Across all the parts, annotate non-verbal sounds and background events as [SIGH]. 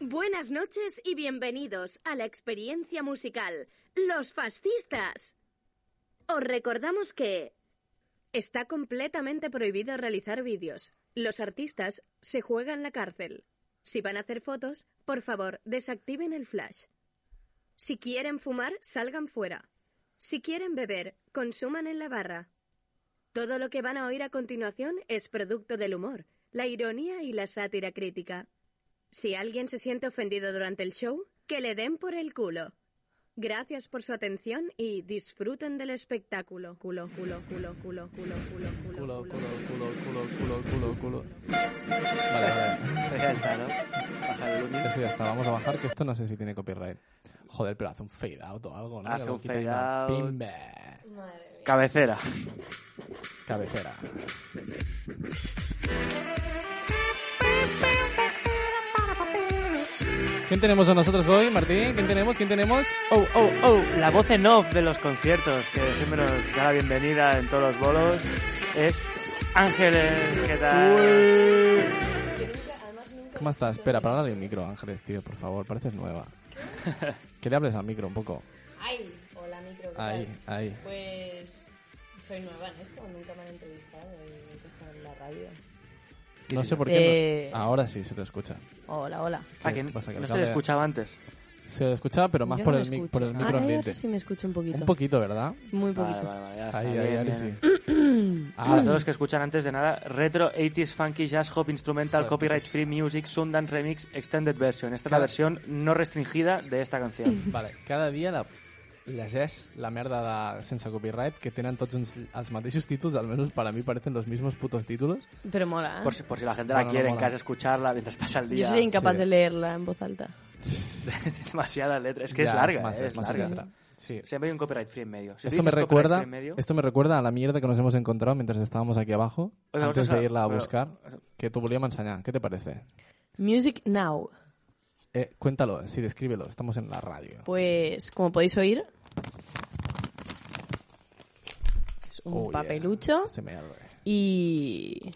Buenas noches y bienvenidos a la experiencia musical Los Fascistas. Os recordamos que está completamente prohibido realizar vídeos. Los artistas se juegan la cárcel. Si van a hacer fotos, por favor, desactiven el flash. Si quieren fumar, salgan fuera. Si quieren beber, consuman en la barra. Todo lo que van a oír a continuación es producto del humor, la ironía y la sátira crítica. Si alguien se siente ofendido durante el show, que le den por el culo. Gracias por su atención y disfruten del espectáculo. Culo, culo, culo, culo, culo, culo, culo, Culo, culo, culo, culo, culo, culo, culo, culo. Vale, vale. [LAUGHS] Pues ya está, ¿no? Pasa el lunes. Eso ya está. Vamos a bajar, que esto no sé si tiene copyright. Joder, pero hace un fade out o algo, ¿no? Hace Que lo un quiten, fade out. Pimba. Cabecera. Cabecera. ¿Quién tenemos a nosotros hoy, Martín? ¿Quién tenemos? ¿Quién tenemos? Oh, oh, oh. La voz en off de los conciertos, que siempre nos da la bienvenida en todos los bolos, es Ángeles. ¿Qué tal? ¿Cómo estás? Espera, para darle el micro, Ángeles, tío, por favor, pareces [LAUGHS] nueva. que le hables al micro un poco. Ay, hola micro. ¿qué tal? Ahí, ahí. Pues soy nueva en esto, nunca me han entrevistado y he estado en la radio. No sé por qué. Eh. no- Ahora sí se te escucha. Hola, hola. ¿A ¿Qué quién? pasa? Que el No se le cable- escuchaba antes. Se escuchaba, pero más Yo por, no el me mic- escucho. por el Ah, micro ambiente. ahora sí me escucho un poquito. Un poquito, ¿verdad? Muy poquito. Vale, vale, vale, ya está. Ahí, bien, eh. ahí, ahora bien. sí. Ah, Para [CLEARS THROAT] Ahora todos los que escuchan antes de nada, Retro 80s Funky Jazz Hop Instrumental Joder, Copyright pues. Free Music Sundance Remix Extended Version. Esta es la Claro. versión no restringida de esta canción. Vale, cada dia la, llegeix la merda de sense copyright que tenen tots uns, els mateixos títols, almenys per a mi parecen los mismos putos títols. Pero mola. ¿eh? Por si, por si la gente No, la no, quiere no en mola. casa escucharla mientras pasa el Yo día. sería incapaz sí. de leerla en voz alta. Demasiada letra. Es que es Ja, larga, massa, eh, es massa larga. lletra. Sí. Siempre hay un copyright free en medio. Si Esto dices me, copyright recuerda, free en medio- esto me recuerda a la mierda que nos hemos encontrado mientras estábamos aquí abajo, Oye, vamos antes a- de irla a pero- buscar, que tú volvíamos a enseñar. ¿Qué te parece? Music Now. Eh, cuéntalo, sí, descríbelo. Estamos en la radio. Pues, como podéis oír, es un Oh, yeah. papelucho Se me arde. y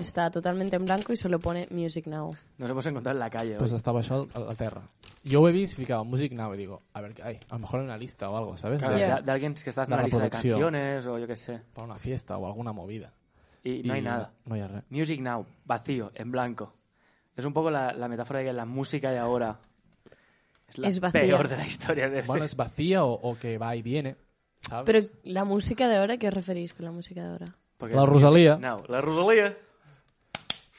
está totalmente en blanco y solo pone Music Now. Nos hemos encontrado en la calle. Pues hoy. estaba yo a la tierra. Yo he visto, ficaba Music Now y digo, a ver, qué hay, a lo mejor hay una lista o algo, ¿sabes? Claro, De- Ya. de, de alguien que está haciendo De una la lista de producción. canciones o yo qué sé. Para una fiesta o alguna movida. Y no hay nada. No hay [LAUGHS] re- Music Now, vacío, en blanco. Es un poco la, la metáfora de que la música de ahora es la Es vacía. peor de la historia. De este, Bueno, es vacía o, o que va y viene, ¿sabes? Pero la música de ahora, ¿qué os referís con la música de ahora? Porque La es Rosalía. Music Now. La Rosalía.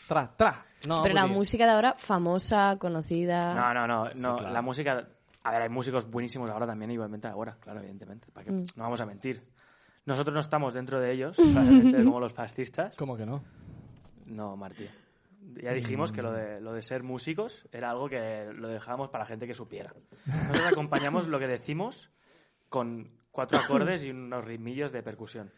Tra, tra. No, pues Pero vull la dir, música de ahora, famosa, conocida. No, no, no. no, claro. La música... A ver, hay músicos buenísimos ahora también, igualmente ahora, claro, evidentemente. ¿Para qué? Mm. No vamos a mentir. Nosotros no estamos dentro de [LAUGHS] ellos, claramente, como los fascistas. ¿Cómo que no? No, Martí. Mm. Ya dijimos que lo de, lo de ser músicos era algo que lo dejábamos para gente que supiera. Nosotros acompañamos lo que decimos con [COUGHS] cuatro acordes y unos ritmillos de percusión.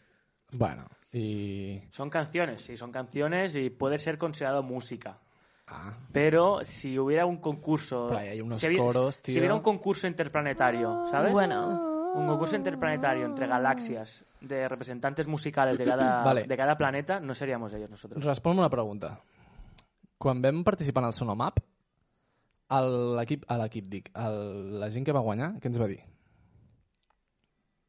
Bueno, y... Son canciones, sí, son canciones y puede ser considerado música. Ah, Pero si hubiera un concurso... Por ahí hay unos si hubiera- coros, tío. Si hubiera un concurso interplanetario, ¿sabes? Bueno, Un concurso interplanetario entre galaxias de [COUGHS] representantes musicales de cada, Vale. de cada planeta, no seríamos ellos nosotros. responme una pregunta. Quan vam participar en el Sonomap, el- l'equip, a l'equip dic, el, la gent que va guanyar, què ens va dir?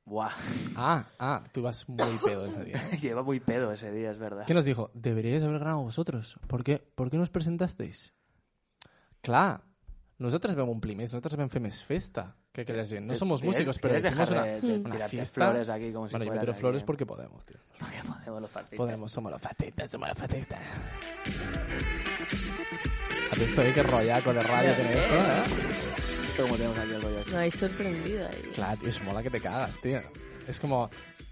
Buah, [LAUGHS] Ah, ah, tú vas muy pedo ese día. lleva muy pedo ese día, es verdad. ¿Qué nos dijo? Deberíais haber ganado vosotros. ¿Por qué, ¿Por qué no os presentasteis? Clar, nosaltres vam omplir més, nosaltres vam fer més festa que aquella gent. No somos Tienes- músicos, pero tienes hicimos dejar una, de- de una tirarte fiesta. flores aquí como si bueno, yo me fueras tiro aquí. flores porque podemos, tío. Porque podemos los fascistas. Podemos, somos los facetas, somos los facetas. A ti estoy que eh? rollaco de radio tener esto, ¿eh? Como tenemos aquí el rollo aquí. me habéis sorprendido ahí. Claro, tío, es mola que te cagas, tío. Es como,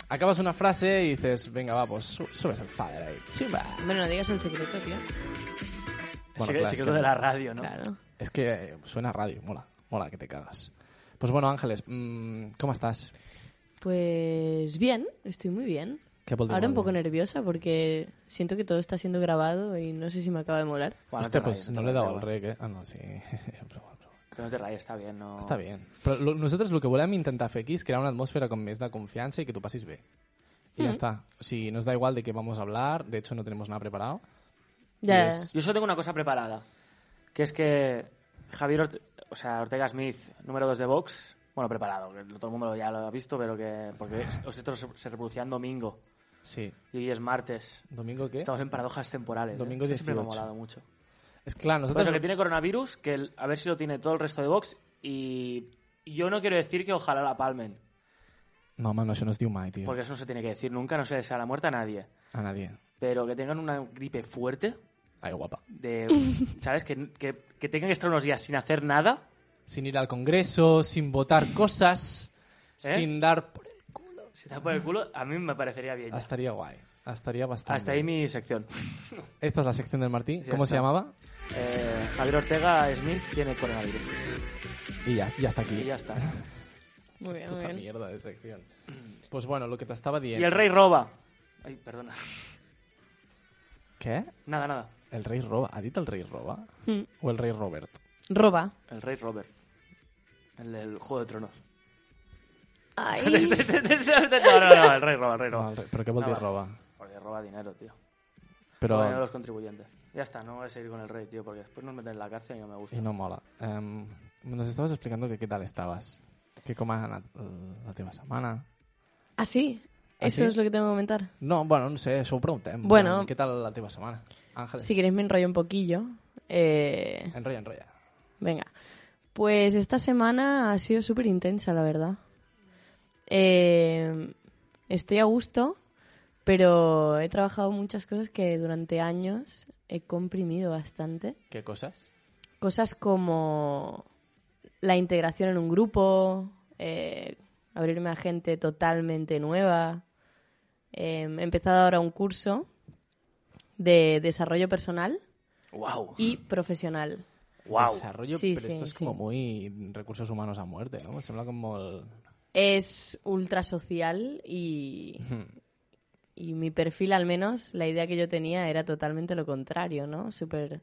acabas una frase y dices, venga, va, pues su- subes el fader ahí. Chimba. Bueno, no digas un secreto, tío. Bueno, clar, Sí, sí és que que- lo de la radio, ¿no? Claro. Es que eh, suena a radio, mola, mola que te cagas. Pues bueno, Ángeles, mm, ¿cómo estás? Pues bien, estoy muy bien. Què vol dir Ahora un molt poco bien? nerviosa porque siento que todo está siendo grabado y no sé si me acaba de molar. Bueno, Hostia, te pues rayes, no te le he rayes, dado al da rey, ¿eh? Ah, no, sí. [LAUGHS] Però bueno, però bueno. igual. Pero no te rayes, está bien, ¿no? Està bé. Però lo, nosaltres el que volem intentar fer aquí és crear una atmosfera com més de confiança i que tu passis bé. I Mm. ja està. O sigui, nos da igual de qué vamos a hablar, de hecho no tenemos nada preparado. Ya. Yes. Yo solo tengo una cosa preparada. Que es que Javier Orte- o sea, Ortega Smith, número 2 de Vox. Bueno, preparado, que todo el mundo ya lo ha visto, pero que. Porque vosotros se reproducían domingo Sí. y hoy es martes. ¿Domingo qué? Estamos en paradojas temporales. ¿eh? Domingo Eso siempre me ha 18. molado mucho. Es claro, Por nosotros... eso que tiene coronavirus, que el- a ver si lo tiene todo el resto de Vox. Y yo no quiero decir que ojalá la palmen, No, mano, eso no es de humay, tío. porque eso no se tiene que decir nunca, no se desea la muerte a nadie. A nadie. Pero que tengan una gripe fuerte, Ay, guapa. de, ¿sabes? Que, que, que tengan que estar unos días sin hacer nada. Sin ir al Congreso, sin votar cosas, ¿Eh? sin dar... por el- Si te da por el culo, a mí me parecería bien. ya. Ah, Estaría guay. Estaría bastante. Hasta ahí mi sección. Esta es la sección del Martí. Ya ¿Cómo se está. llamaba? Eh, Javier Ortega Smith tiene coronavirus. Y ya, ya está aquí. Y ya está. Muy bien, muy Puta bien. mierda de sección. Pues bueno, lo que te estaba Y diciendo. el rey roba. Ay, perdona. ¿Qué? Nada, nada. El rey roba. ¿Ha dicho el rey roba? Mm. ¿O el rey Robert? Roba. El rey Robert. El del Juego de Tronos. [LAUGHS] Ay. este? no, no, no, el rey roba, el rey No, roba. el rey- ¿Pero qué volví Ah, vale. roba? Porque roba dinero, tío. Pero... Roba dinero a los contribuyentes. Ya está, no voy a seguir con el rey, tío, porque después nos meten en la cárcel y no me gusta. Y no mola. Em, nos estabas explicando que qué tal estabas. Que comas la, la teva setmana. Así. ¿Ah, Eso sí? es lo que tengo que comentar. No, bueno, no sé, eso ho preguntem. Bueno. Em, Què tal la teva setmana? Àngel, Si queréis me enrollo un poquillo. Eh, enrolla, enrolla. venga. Pues esta semana ha sido súper intensa, la verdad. Eh, estoy a gusto, pero he trabajado muchas cosas que durante años he comprimido bastante. ¿Qué cosas? Cosas como la integración en un grupo, eh, abrirme a gente totalmente nueva. Eh, he empezado ahora un curso de desarrollo personal ¡Wow! y profesional. ¡Wow! Desarrollo, Sí, pero sí, esto es sí. como muy recursos humanos a muerte, ¿no? Sembla com molt... Es ultra social y, y mi perfil, al menos, la idea que yo tenía era totalmente lo contrario, ¿no? Súper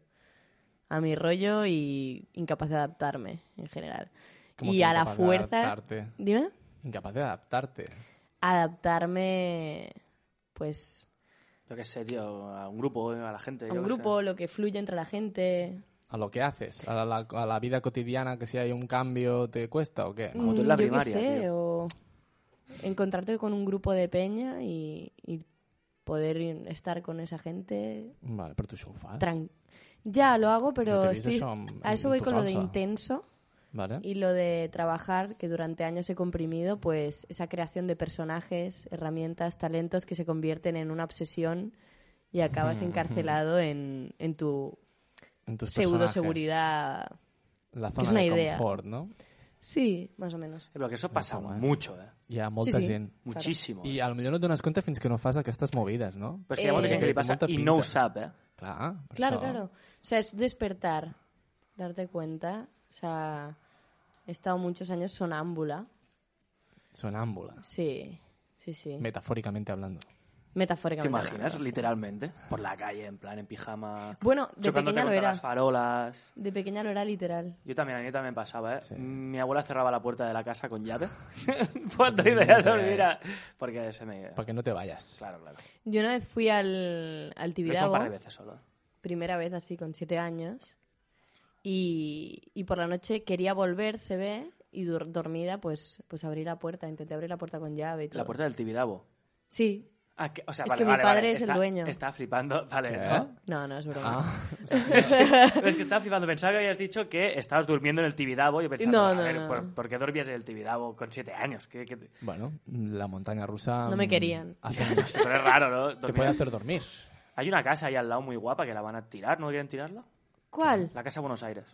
a mi rollo y incapaz de adaptarme en general. Como y que a la incapaz de fuerza. adaptarte. Dime. Incapaz de adaptarte. Adaptarme, pues, Yo qué sé, tío, a un grupo, eh, a la gente. a yo un qué sé. grupo, lo que fluye entre la gente. A lo que haces, a la, a la vida cotidiana, que si hay un cambio te cuesta o qué. ¿no? Como tú en Mm, la yo qué primaria, sé, tío. o encontrarte con un grupo de peña y, y poder in- estar con esa gente Vale, però tu això ho fas. Tran- Ya lo hago, No te pero viste estoy- eso mm, en- a eso en voy tu con lo de salsa. intenso Vale. y lo de trabajar, que durante años he comprimido, pues esa creación de personajes, herramientas, talentos que se convierten en una obsesión y acabas Mm. encarcelado en, en tu En tus pseudo personajes. seguridad. La zona És una de idea. confort, no? Sí, más o menos. Eh, Pero que eso pasa guay. mucho, ¿eh? Hi ha molta sí. gent. Muchísimo. I eh. a lo millor no et dones compte fins que no fas aquestes movides, no? Pues que hay mucha Eh, gente que le pasa molta y no pinta. sap, ¿eh? Clar, per Claro, això. claro. O sea, es despertar, darte cuenta. O sea, he estado muchos años sonámbula. Sonámbula. Sí, sí, sí. Metafóricamente hablando. ¿Te Metafóricamente. imaginas? hablando, sí. Literalmente. Por la calle, en plan, en pijama. Bueno, de chocándote pequeña lo contra era. las farolas. De pequeña lo era literal. Yo también, a mí también pasaba, ¿eh? Mi abuela cerraba la puerta de la casa con llave. Cuando iba a dormir a- Porque se me... Perquè no te vayas. Claro, claro. Yo una vez fui Lo al, al hice un Tibidabo, par de veces solo. primera vez así, con siete años, y, y por la noche quería volver, se ve, y dur- dormida, pues, pues abrí la puerta, intenté abrir la puerta con llave y todo. La puerta del Tibidabo. Sí. Ah, que- o sea, Es vale, que mi vale, padre vale. es el Está- dueño. Está flipando, vale, ¿Qué? ¿no? No, no, es broma. Ah, Es que estaba flipando. Pensaba que habías dicho que estabas durmiendo en el Tibidabo. Yo pensaba, No, a no, ver, no. ¿por, por qué dormías en el Tibidabo con siete años? ¿Qué, qué te- bueno, la montaña rusa... No me mm, querían. [LAUGHS] [LAUGHS] hace- No sé, pero es raro, ¿no? te Dormir- puede hacer dormir. Hay una casa ahí al lado muy guapa que la van a tirar, ¿no quieren tirarla? ¿Cuál? La casa Buenos Aires.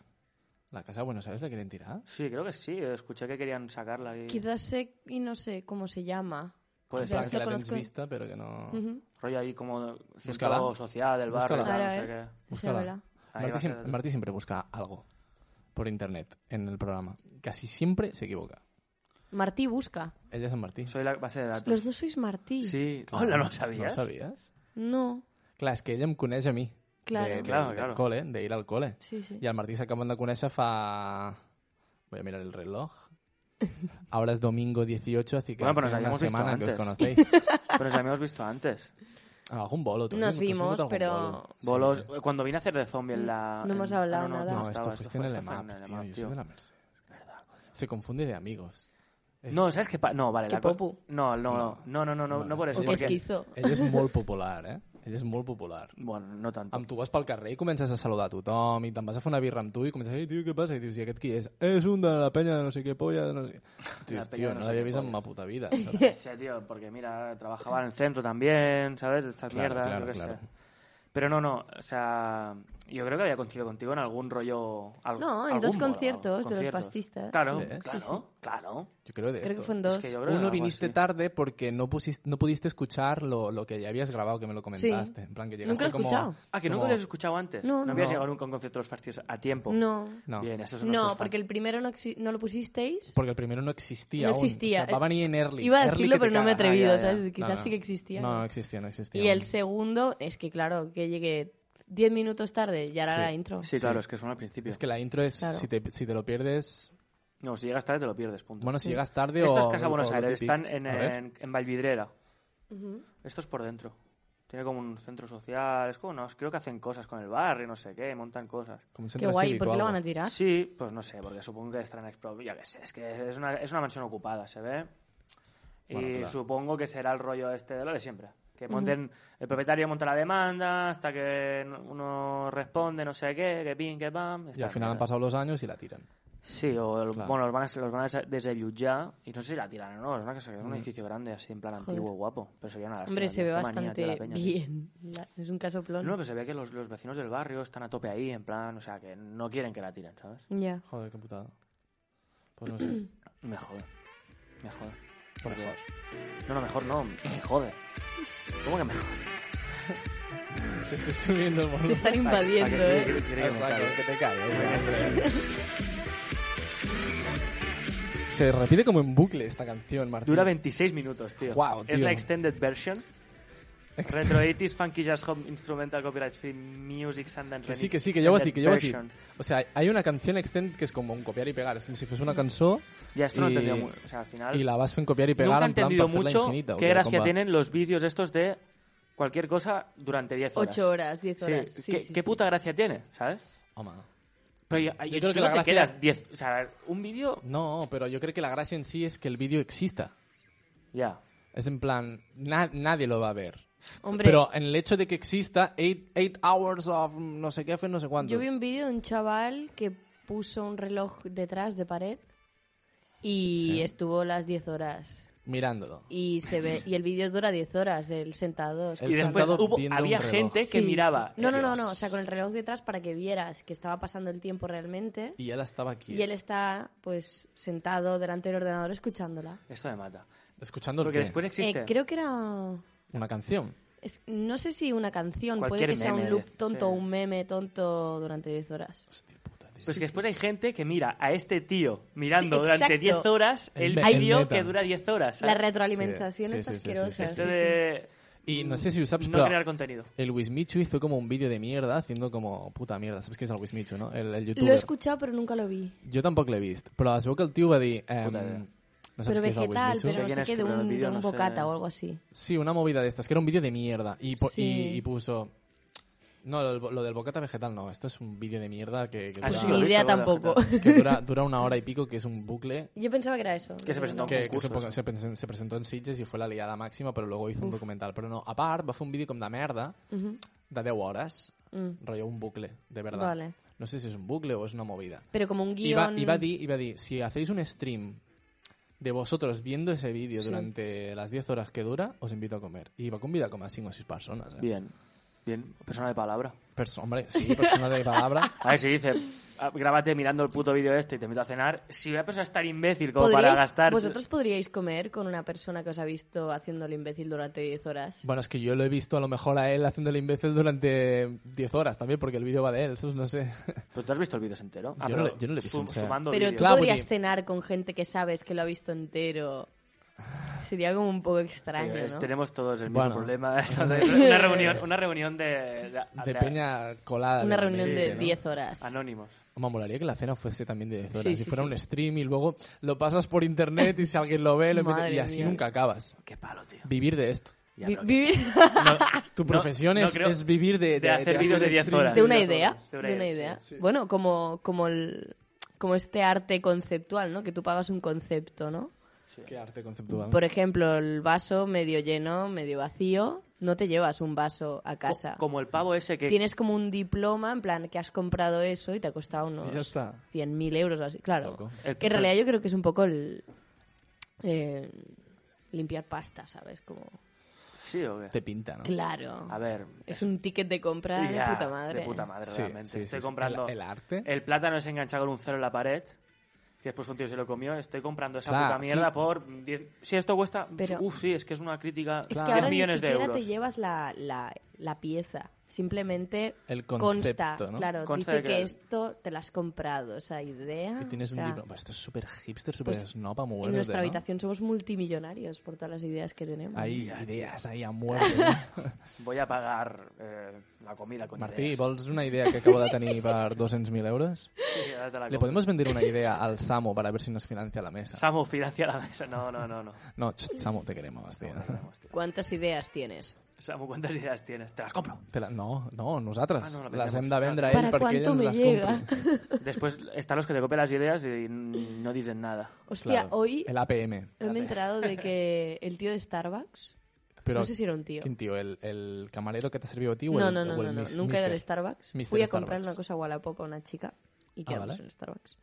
La casa de Buenos Aires la quieren tirar. Sí, creo que sí. Escuché que querían sacarla y... Quizás sé y no sé cómo se llama. Puede Ya Clar, ser. sé que la con tens los- vista, pero que no... Ujú. Rollo ahí como Búscala. centro social del barrio. y Búscala. tal, Ahora, no sé eh. qué. Búscala. Sí, hola. Ahí Martí, va a siem- ser- Martí siempre busca algo por internet en el programa. Casi siempre se equivoca. Martí busca. Ella es San Martín. Soy la base de datos. Los dos sois Martí. Sí. Claro. Hola, ¿no No ho sabías? sabies? No. Clar, és que ella em coneix a mi. Claro. De, de, Claro, del claro. col·le, d'ir al col·le. Sí, sí. I el Martí s'acaben de conèixer fa... Voy a mirar el reloj. Ahora es domingo 18, así que Bueno, pero nos hace una habíamos visto semana que os antes. conocéis. Pero nos habíamos visto antes. Ah, Algún bolo. tú Nos has ido- tú has ido a vimos, algún pero- bolo. Sí. Bolos, cuando vine a hacer de zombie en la... No en- hemos hablado ah, no, no, nada. No, Ah, tú esto estabas, fuiste fue- en el esto fue EMAP, tío. Yo tío. soy de la Merced. Se confunde de amigos. Es- No, ¿sabes qué? pa- No, vale. Que la co- popu. No, no, no, no, no, no, no, no por és eso. que perquè- Porque... esquizo. Ell és molt popular, eh? Ell és molt popular. Bueno, no tanto. Amb tu vas pel carrer i comences a saludar a tothom i te'n vas a fer una birra amb tu i comences a dir, tio, què passa? I dius, i aquest qui és? És un de la penya de no sé què polla, de no [LAUGHS] sé què. La Dius, penya tio, de no no sé l'havia què vist en polla". ma puta [LAUGHS] vida. [LAUGHS] No sé, tío, porque mira, trabajaba en el centro también, ¿sabes? Estas Claro, mierdas, claro, yo qué claro. sé. Pero no, no, o sea, yo creo que había coincidido contigo en algún rollo... al- No, en algún dos bolo, conciertos de los conciertos. fascistas. Claro, Sí, ¿eh? claro, claro. Yo creo de Creo que esto. fue en dos. Es que yo creo que Uno algo viniste así. tarde porque no, pusiste, no pudiste escuchar lo, lo que ya habías grabado, que me lo comentaste. En plan, que llegaste Nunca lo he como... escuchado. Ah, que como- nunca lo habías escuchado antes. No, no. habías No. llegado nunca a un concierto de los fascistas a tiempo. No. No. Bien, esos son No, nuestros porque fans. el primero no, exi- no lo pusisteis. Porque el primero no existía No aún. existía. O sea, va a venir en early. Iba a Early decirlo, que te pero no me he cagas. atreví. atrevido, Ah, ya, ya. ¿sabes? No, Quizás no. sí que existía. No, no existía, no existía. Y el aún. segundo, es que claro, que llegué 10 minutos tarde y ahora Sí. la intro. Sí, claro, es que son al principio. Es que la intro es... Claro. Si, te, si te lo pierdes... No, si llegas tarde te lo pierdes, punto. Bueno, si llegas tarde o... Esto es Casa o Buenos lo Aires, típico. están en, A ver. en, en Valvidrera. Ujú. Esto es por dentro. Tiene como un centro social, es como, no, creo que hacen cosas con el barrio, no sé qué, montan cosas. Como un Qué centro guay, cívico ¿por qué o lo algo. van a tirar? Sí, pues no sé, porque supongo que estarán expropiando, ya que sé, es que es una, es una mansión ocupada, se ve. Y Bueno, claro. supongo que será el rollo este de lo de siempre. Que monten, el propietario monta la demanda hasta que no- uno responde, no sé qué, que pin, que pam. Y al estas final han mierdas. pasado los años y la tiran. Sí, o el- Claro. bueno, los van, a, los van a desellotjar y no sé si la tiran o no, es una cosa que es un edificio grande así en plan antiguo, guapo, pero sería una lástima. Hombre, se tío, ve qué manía, tío, bastante la peña, tío. bien. La- Es un casoplón. No, pero se ve que los, los vecinos del barrio están a tope ahí, en plan, o sea, que no quieren que la tiren, ¿sabes? Ya. Joder, qué putada. Pues no sé. [LAUGHS] Me jode. Me jode. Por mejor. No, no, mejor no, me jode. ¿Cómo que me jode? Te estoy subiendo el Te volumen. están Para- invadiendo, para que- ¿eh? quiere- quiere que me calle. te caes. Se repite como en bucle esta canción, Martín. Dura 26 minutos, tío. Guau, Es tío. la extended version. Ext- Retro 80s, Funky Jazz Home, Instrumental Copyright Free Music Sundance Que Remix. sí, que sí, que yo voy a decir, que yo voy a decir. Extended version. O sea, hay una canción extend que es como un copiar y pegar. Es como si fuese una canción Ya, esto no Y- lo he entendido mucho. O sea, al final... y la vas en copiar y pegar Nunca he en plan entendido para hacerla mucho infinita, ¿o qué qué, gracia compa? tienen los vídeos estos de cualquier cosa durante 10 horas. 8 horas, 10 Sí, horas. Sí, ¿Qué, sí, qué sí. puta gracia tiene, ¿sabes? Home. Pero yo, yo- creo que tú la gracia- no te quedas 10... O sea, un vídeo... No, pero yo creo que la gracia en sí es que el vídeo exista. Ya. Es en plan, na- nadie lo va a ver. Hombre, Pero en el hecho de que exista 8 hours of no sé qué, fe, no sé cuánto. yo vi un vídeo de un chaval que puso un reloj detrás de pared y Sí. estuvo las 10 horas. Mirándolo. Y se ve y el vídeo dura 10 horas, el sentado. El y después sentado hubo, viendo un había reloj. gente que Sí, miraba. sí. No, no, no, no, Dios. o sea, con el reloj detrás para que vieras que estaba pasando el tiempo realmente. Y él estaba aquí. Y él está, pues, sentado delante del ordenador escuchándola. Esto me mata. Escuchando Porque qué? después existe... Eh, creo que era... una canción. es- no sé si una canción, Cualquier puede que sea meme, un loop sí. tonto o un meme tonto durante 10 horas. Hostia puta, tío. Pues que después hay gente que mira a este tío mirando Sí, durante exacto. 10 horas el, El me- el vídeo meta. que dura 10 horas. La ¿sabes? retroalimentación Sí, es sí, sí, sí, asquerosa. sí, Esto sí, sí. de... Y no sé si usabas, No pero crear contenido. el Wismichu hizo como un vídeo de mierda, haciendo como puta mierda. ¿Sabes qué es el Wismichu, no? El, el youtuber. Lo he escuchado, pero nunca lo vi. Jo tampoc l'he vist, però es veu que el tio va dir... ehm, Puta idea. no saps Pero què és el vegetal, Wismichu? pero Sí, no quién sé es, qué, de pero el un, de vídeo un no sé. bocata o algo así. Sí, una movida de estas, que era un vídeo de mierda. Y, po- Sí. y- y puso... No, lo, lo del bocata vegetal no, esto es un vídeo de mierda que, que Ah, dura, sí, Pues Ni lo he idea visto, lo he tampoco. que dura, dura una hora y pico, que es un bucle [LAUGHS] Yo pensaba que era eso. Que se presentó. que, que concurso, supo- eso. se, presen- se presentó en Sitges i fue la liada màxima, però luego hizo un documental. Però no, a part, va fer un vídeo com de merda, de 10 hores, Mm. rotllo un bucle, de verdad. Vale. No sé si es un bucle o es una movida. Pero como un Y va, guión... y va a di- y va a di, si hacéis un stream de vosotros viendo ese vídeo durante las 10 horas que dura, os invito a comer. Y va convida como a 5 o 6 personas. Eh? Bien. Bien. Persona de palabra. Perso- hombre, sí, persona de [LAUGHS] palabra. A ver si dice, "Ah, grábate mirando el puto vídeo este y te invito a cenar. Si voy a pensar estar imbécil como para ¿Podríais- gastar... ¿Vosotros podríais comer con una persona que os ha visto haciendo el imbécil durante 10 horas? Bueno, es que yo lo he visto a lo mejor a él haciendo el imbécil durante 10 horas también, porque el vídeo va de él, ¿sabes? no sé. ¿Pero Pues tú has visto el vídeo entero? Ah, Yo no pero le- yo no le he visto sum- entero. Sumando Pero tú vídeos. Claro, podrías porque- cenar con gente que sabes que lo ha visto entero. Ah. Sería como un poco extraño, Es- ¿no? Eh, Tenemos todos el mismo Bueno. [LAUGHS] problema. una reunión, una reunión de... De, De peña colada. Una la reunión Sí, de mente, ¿no? 10 horas. Ah, Anónimos. Me molaría que la cena fuese también de 10 horas. Sí, si sí, fuera sí. un stream y luego lo pasas por internet y si alguien lo ve, lo empieza- Madre y así mía. nunca acabas. Qué palo, tío. Vivir de esto. Ya, Vi- pero que- vivir no- Tu no- profesión no es, creo- es vivir de, de hacer vídeos de 10 streams horas. de sí, una de idea. todos, De de una una idea, sí, idea. Bueno, como, como, el- como este arte conceptual, ¿no? Que tú pagas un concepto, ¿no? Qué arte conceptual. Por ejemplo, el vaso medio lleno, medio vacío, no te llevas un vaso a co- casa. Como el pavo ese que... Tienes como un diploma, en plan, que has comprado eso y te ha costado Y ya unos está. 100.000 euros o así. Claro. Loco. El- Que en realidad yo creo que es un poco el... eh, limpiar pasta, ¿sabes? Como... Sí, o qué? Te pinta, ¿no? Claro. A ver... Es [LAUGHS] un ticket de compra de Ya, puta madre. De puta madre, Sí, realmente. sí, sí, Ah, Estoy sí. comprando... El- el arte. El plátano es enganchado con un cero en la pared. Que después un tío se lo comió. Estoy comprando esa Claro, puta aquí- mierda por... 10 Si esto cuesta... Pero- Uf, sí, es que es una crítica... Es Claro. que 10 ahora ni millones de siquiera euros. te llevas la, la, la pieza. Simplemente El consta, concepto, ¿no? claro, Consta dice de que, que- esto te la has comprado, esa idea. Y tienes un Ah, o sea, libro. Pues Esto es súper hipster, súper pues, snob, a muy En bueno. nuestra habitación somos multimillonarios por todas las ideas que tenemos. Hay Ya, ideas ahí [LAUGHS] a muerte. ¿no? Voy a pagar eh, la comida con Martí, ideas. vols una idea que acabo de tenir per [LAUGHS] 200.000 euros? Sí, ahora te la ¿Le compro. podemos vender una idea al Samo para ver si nos financia la mesa? Samu, financia la mesa. No, no, no, no. No, ch, Samo, te queremos, tío. Vamos, tío. ¿Cuántas ideas tienes? Samu, ¿cuántas ideas tienes? Te las compro. Te la- No, no, nosaltres. Ah, no, la les vendemos. hem de vendre a ¿Para ell perquè ell cuánto ens me les llega? compri. Después están los que te copian las ideas y no dicen nada. Hostia, Claro, hoy, El APM. hoy me he enterado de que el tío de Starbucks... Pero, no sé si era un tío. ¿Quién tío? ¿El, el camarero que te sirvió a ti o No, el, no, o no, el no, no, mis- nunca era mister? de Starbucks. Mister Fui a Starbucks. comprar una cosa a Wallapop a una chica y quedamos vale. en Starbucks.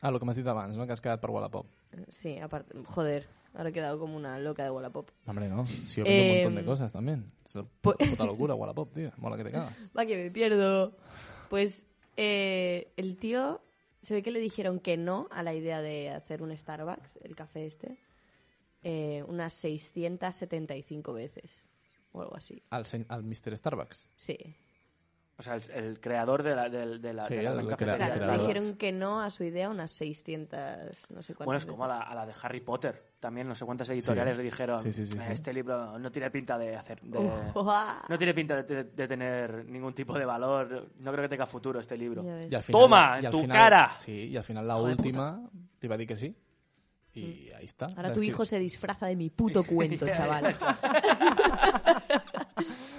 Ah, lo que m'has dit abans, no? Que has quedat per Wallapop. Sí, aparte, joder, ahora he quedado como una loca de Wallapop. Hombre, no. Si yo vendo un Eh, montón de cosas también. Es una pues- puta locura Wallapop, tío. Mola que te cagas. Va que me pierdo. Pues eh, el tío se ve que le dijeron que no a la idea de hacer un Starbucks, el café este, eh, unas 675 veces o algo así. Al, sen- al Mr. Starbucks. Sí. O sea, el, el creador de la, del- de la, Sí, de la el gran crea- cafetería. Claro, creador. le dijeron que no a su idea unas 600, no sé cuántas. Bueno, es como a la, veces. a la de Harry Potter. También no sé cuántas editoriales Sí. le dijeron, Sí, sí, sí, "Eh, sí. este libro no tiene pinta de hacer... de- [LAUGHS] Ujua. no tiene pinta de, de- de tener ningún tipo de valor. No creo que tenga futuro este libro. Ya ves. I al Toma, i al tu cara. Sí, y al final la Hijo de última te iba a decir que sí. Mm. Y ahí está. Ahora La tu escri- hijo se disfraza de mi puto cuento, chaval. [LAUGHS]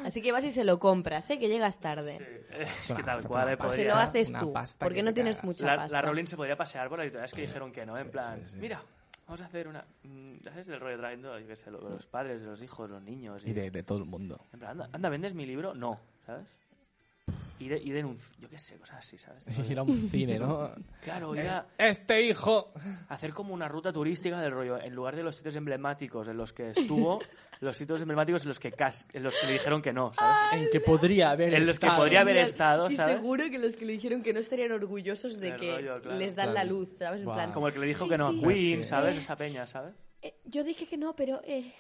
Así que vas y se lo compras, ¿eh? Que llegas tarde. [LAUGHS] Es que Una- tal cual, una eh, pasta, Se podría- lo haces una tú. pasta Porque que no te tienes cagas. mucha La, pasta. la Rowling se podría pasear por las editoriales que dijeron que no, en plan, sí, sí. mira, vamos a hacer una... mm, ¿Sabes? El rollo trayendo, yo qué sé, lo de los padres, de los hijos, de los niños. Y de, de todo el mundo. En plan, anda, anda, ¿vendes mi libro? No, ¿sabes? Y, de, y denuncio, yo qué sé, cosas así, ¿sabes? Ir a un cine, [LAUGHS] ¿no? Claro, ir a Este hijo. hacer como una ruta turística del rollo. En lugar de los sitios emblemáticos en los que [LAUGHS] estuvo, los sitios emblemáticos en los que, cas- en los que le dijeron que no, ¿sabes? En que podría haber En los que estado. podría haber estado, y ¿sabes? seguro que los que le dijeron que no estarían orgullosos de El que rollo, claro. les dan la Claro. luz, ¿sabes? En Buah. plan, Como el que le dijo que no a Sí, sí. Queen, Sí. ¿sabes? Esa peña, ¿sabes? "Eh, yo dije que no, pero eh,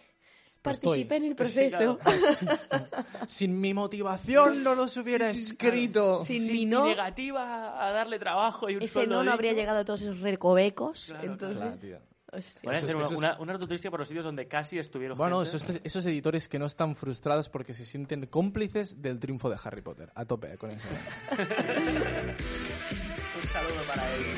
Pero estoy". participé en el Pues sí, proceso. claro. Sin mi motivación no los [LAUGHS] hubiera escrito. [LAUGHS] Sin Sin mi mi no, negativa a darle trabajo y un ese sueldo no no digno. habría llegado a todos esos recovecos. Claro, entonces, Claro, tío. hostia. Voy a Eso es- hacer una, eso es- una- una ruta turística por los sitios donde casi estuvieron Bueno, gente. esos, esos editores que no están frustrados porque se sienten cómplices del triunfo de Harry Potter. A tope con [LAUGHS] eso. Un saludo para ellos.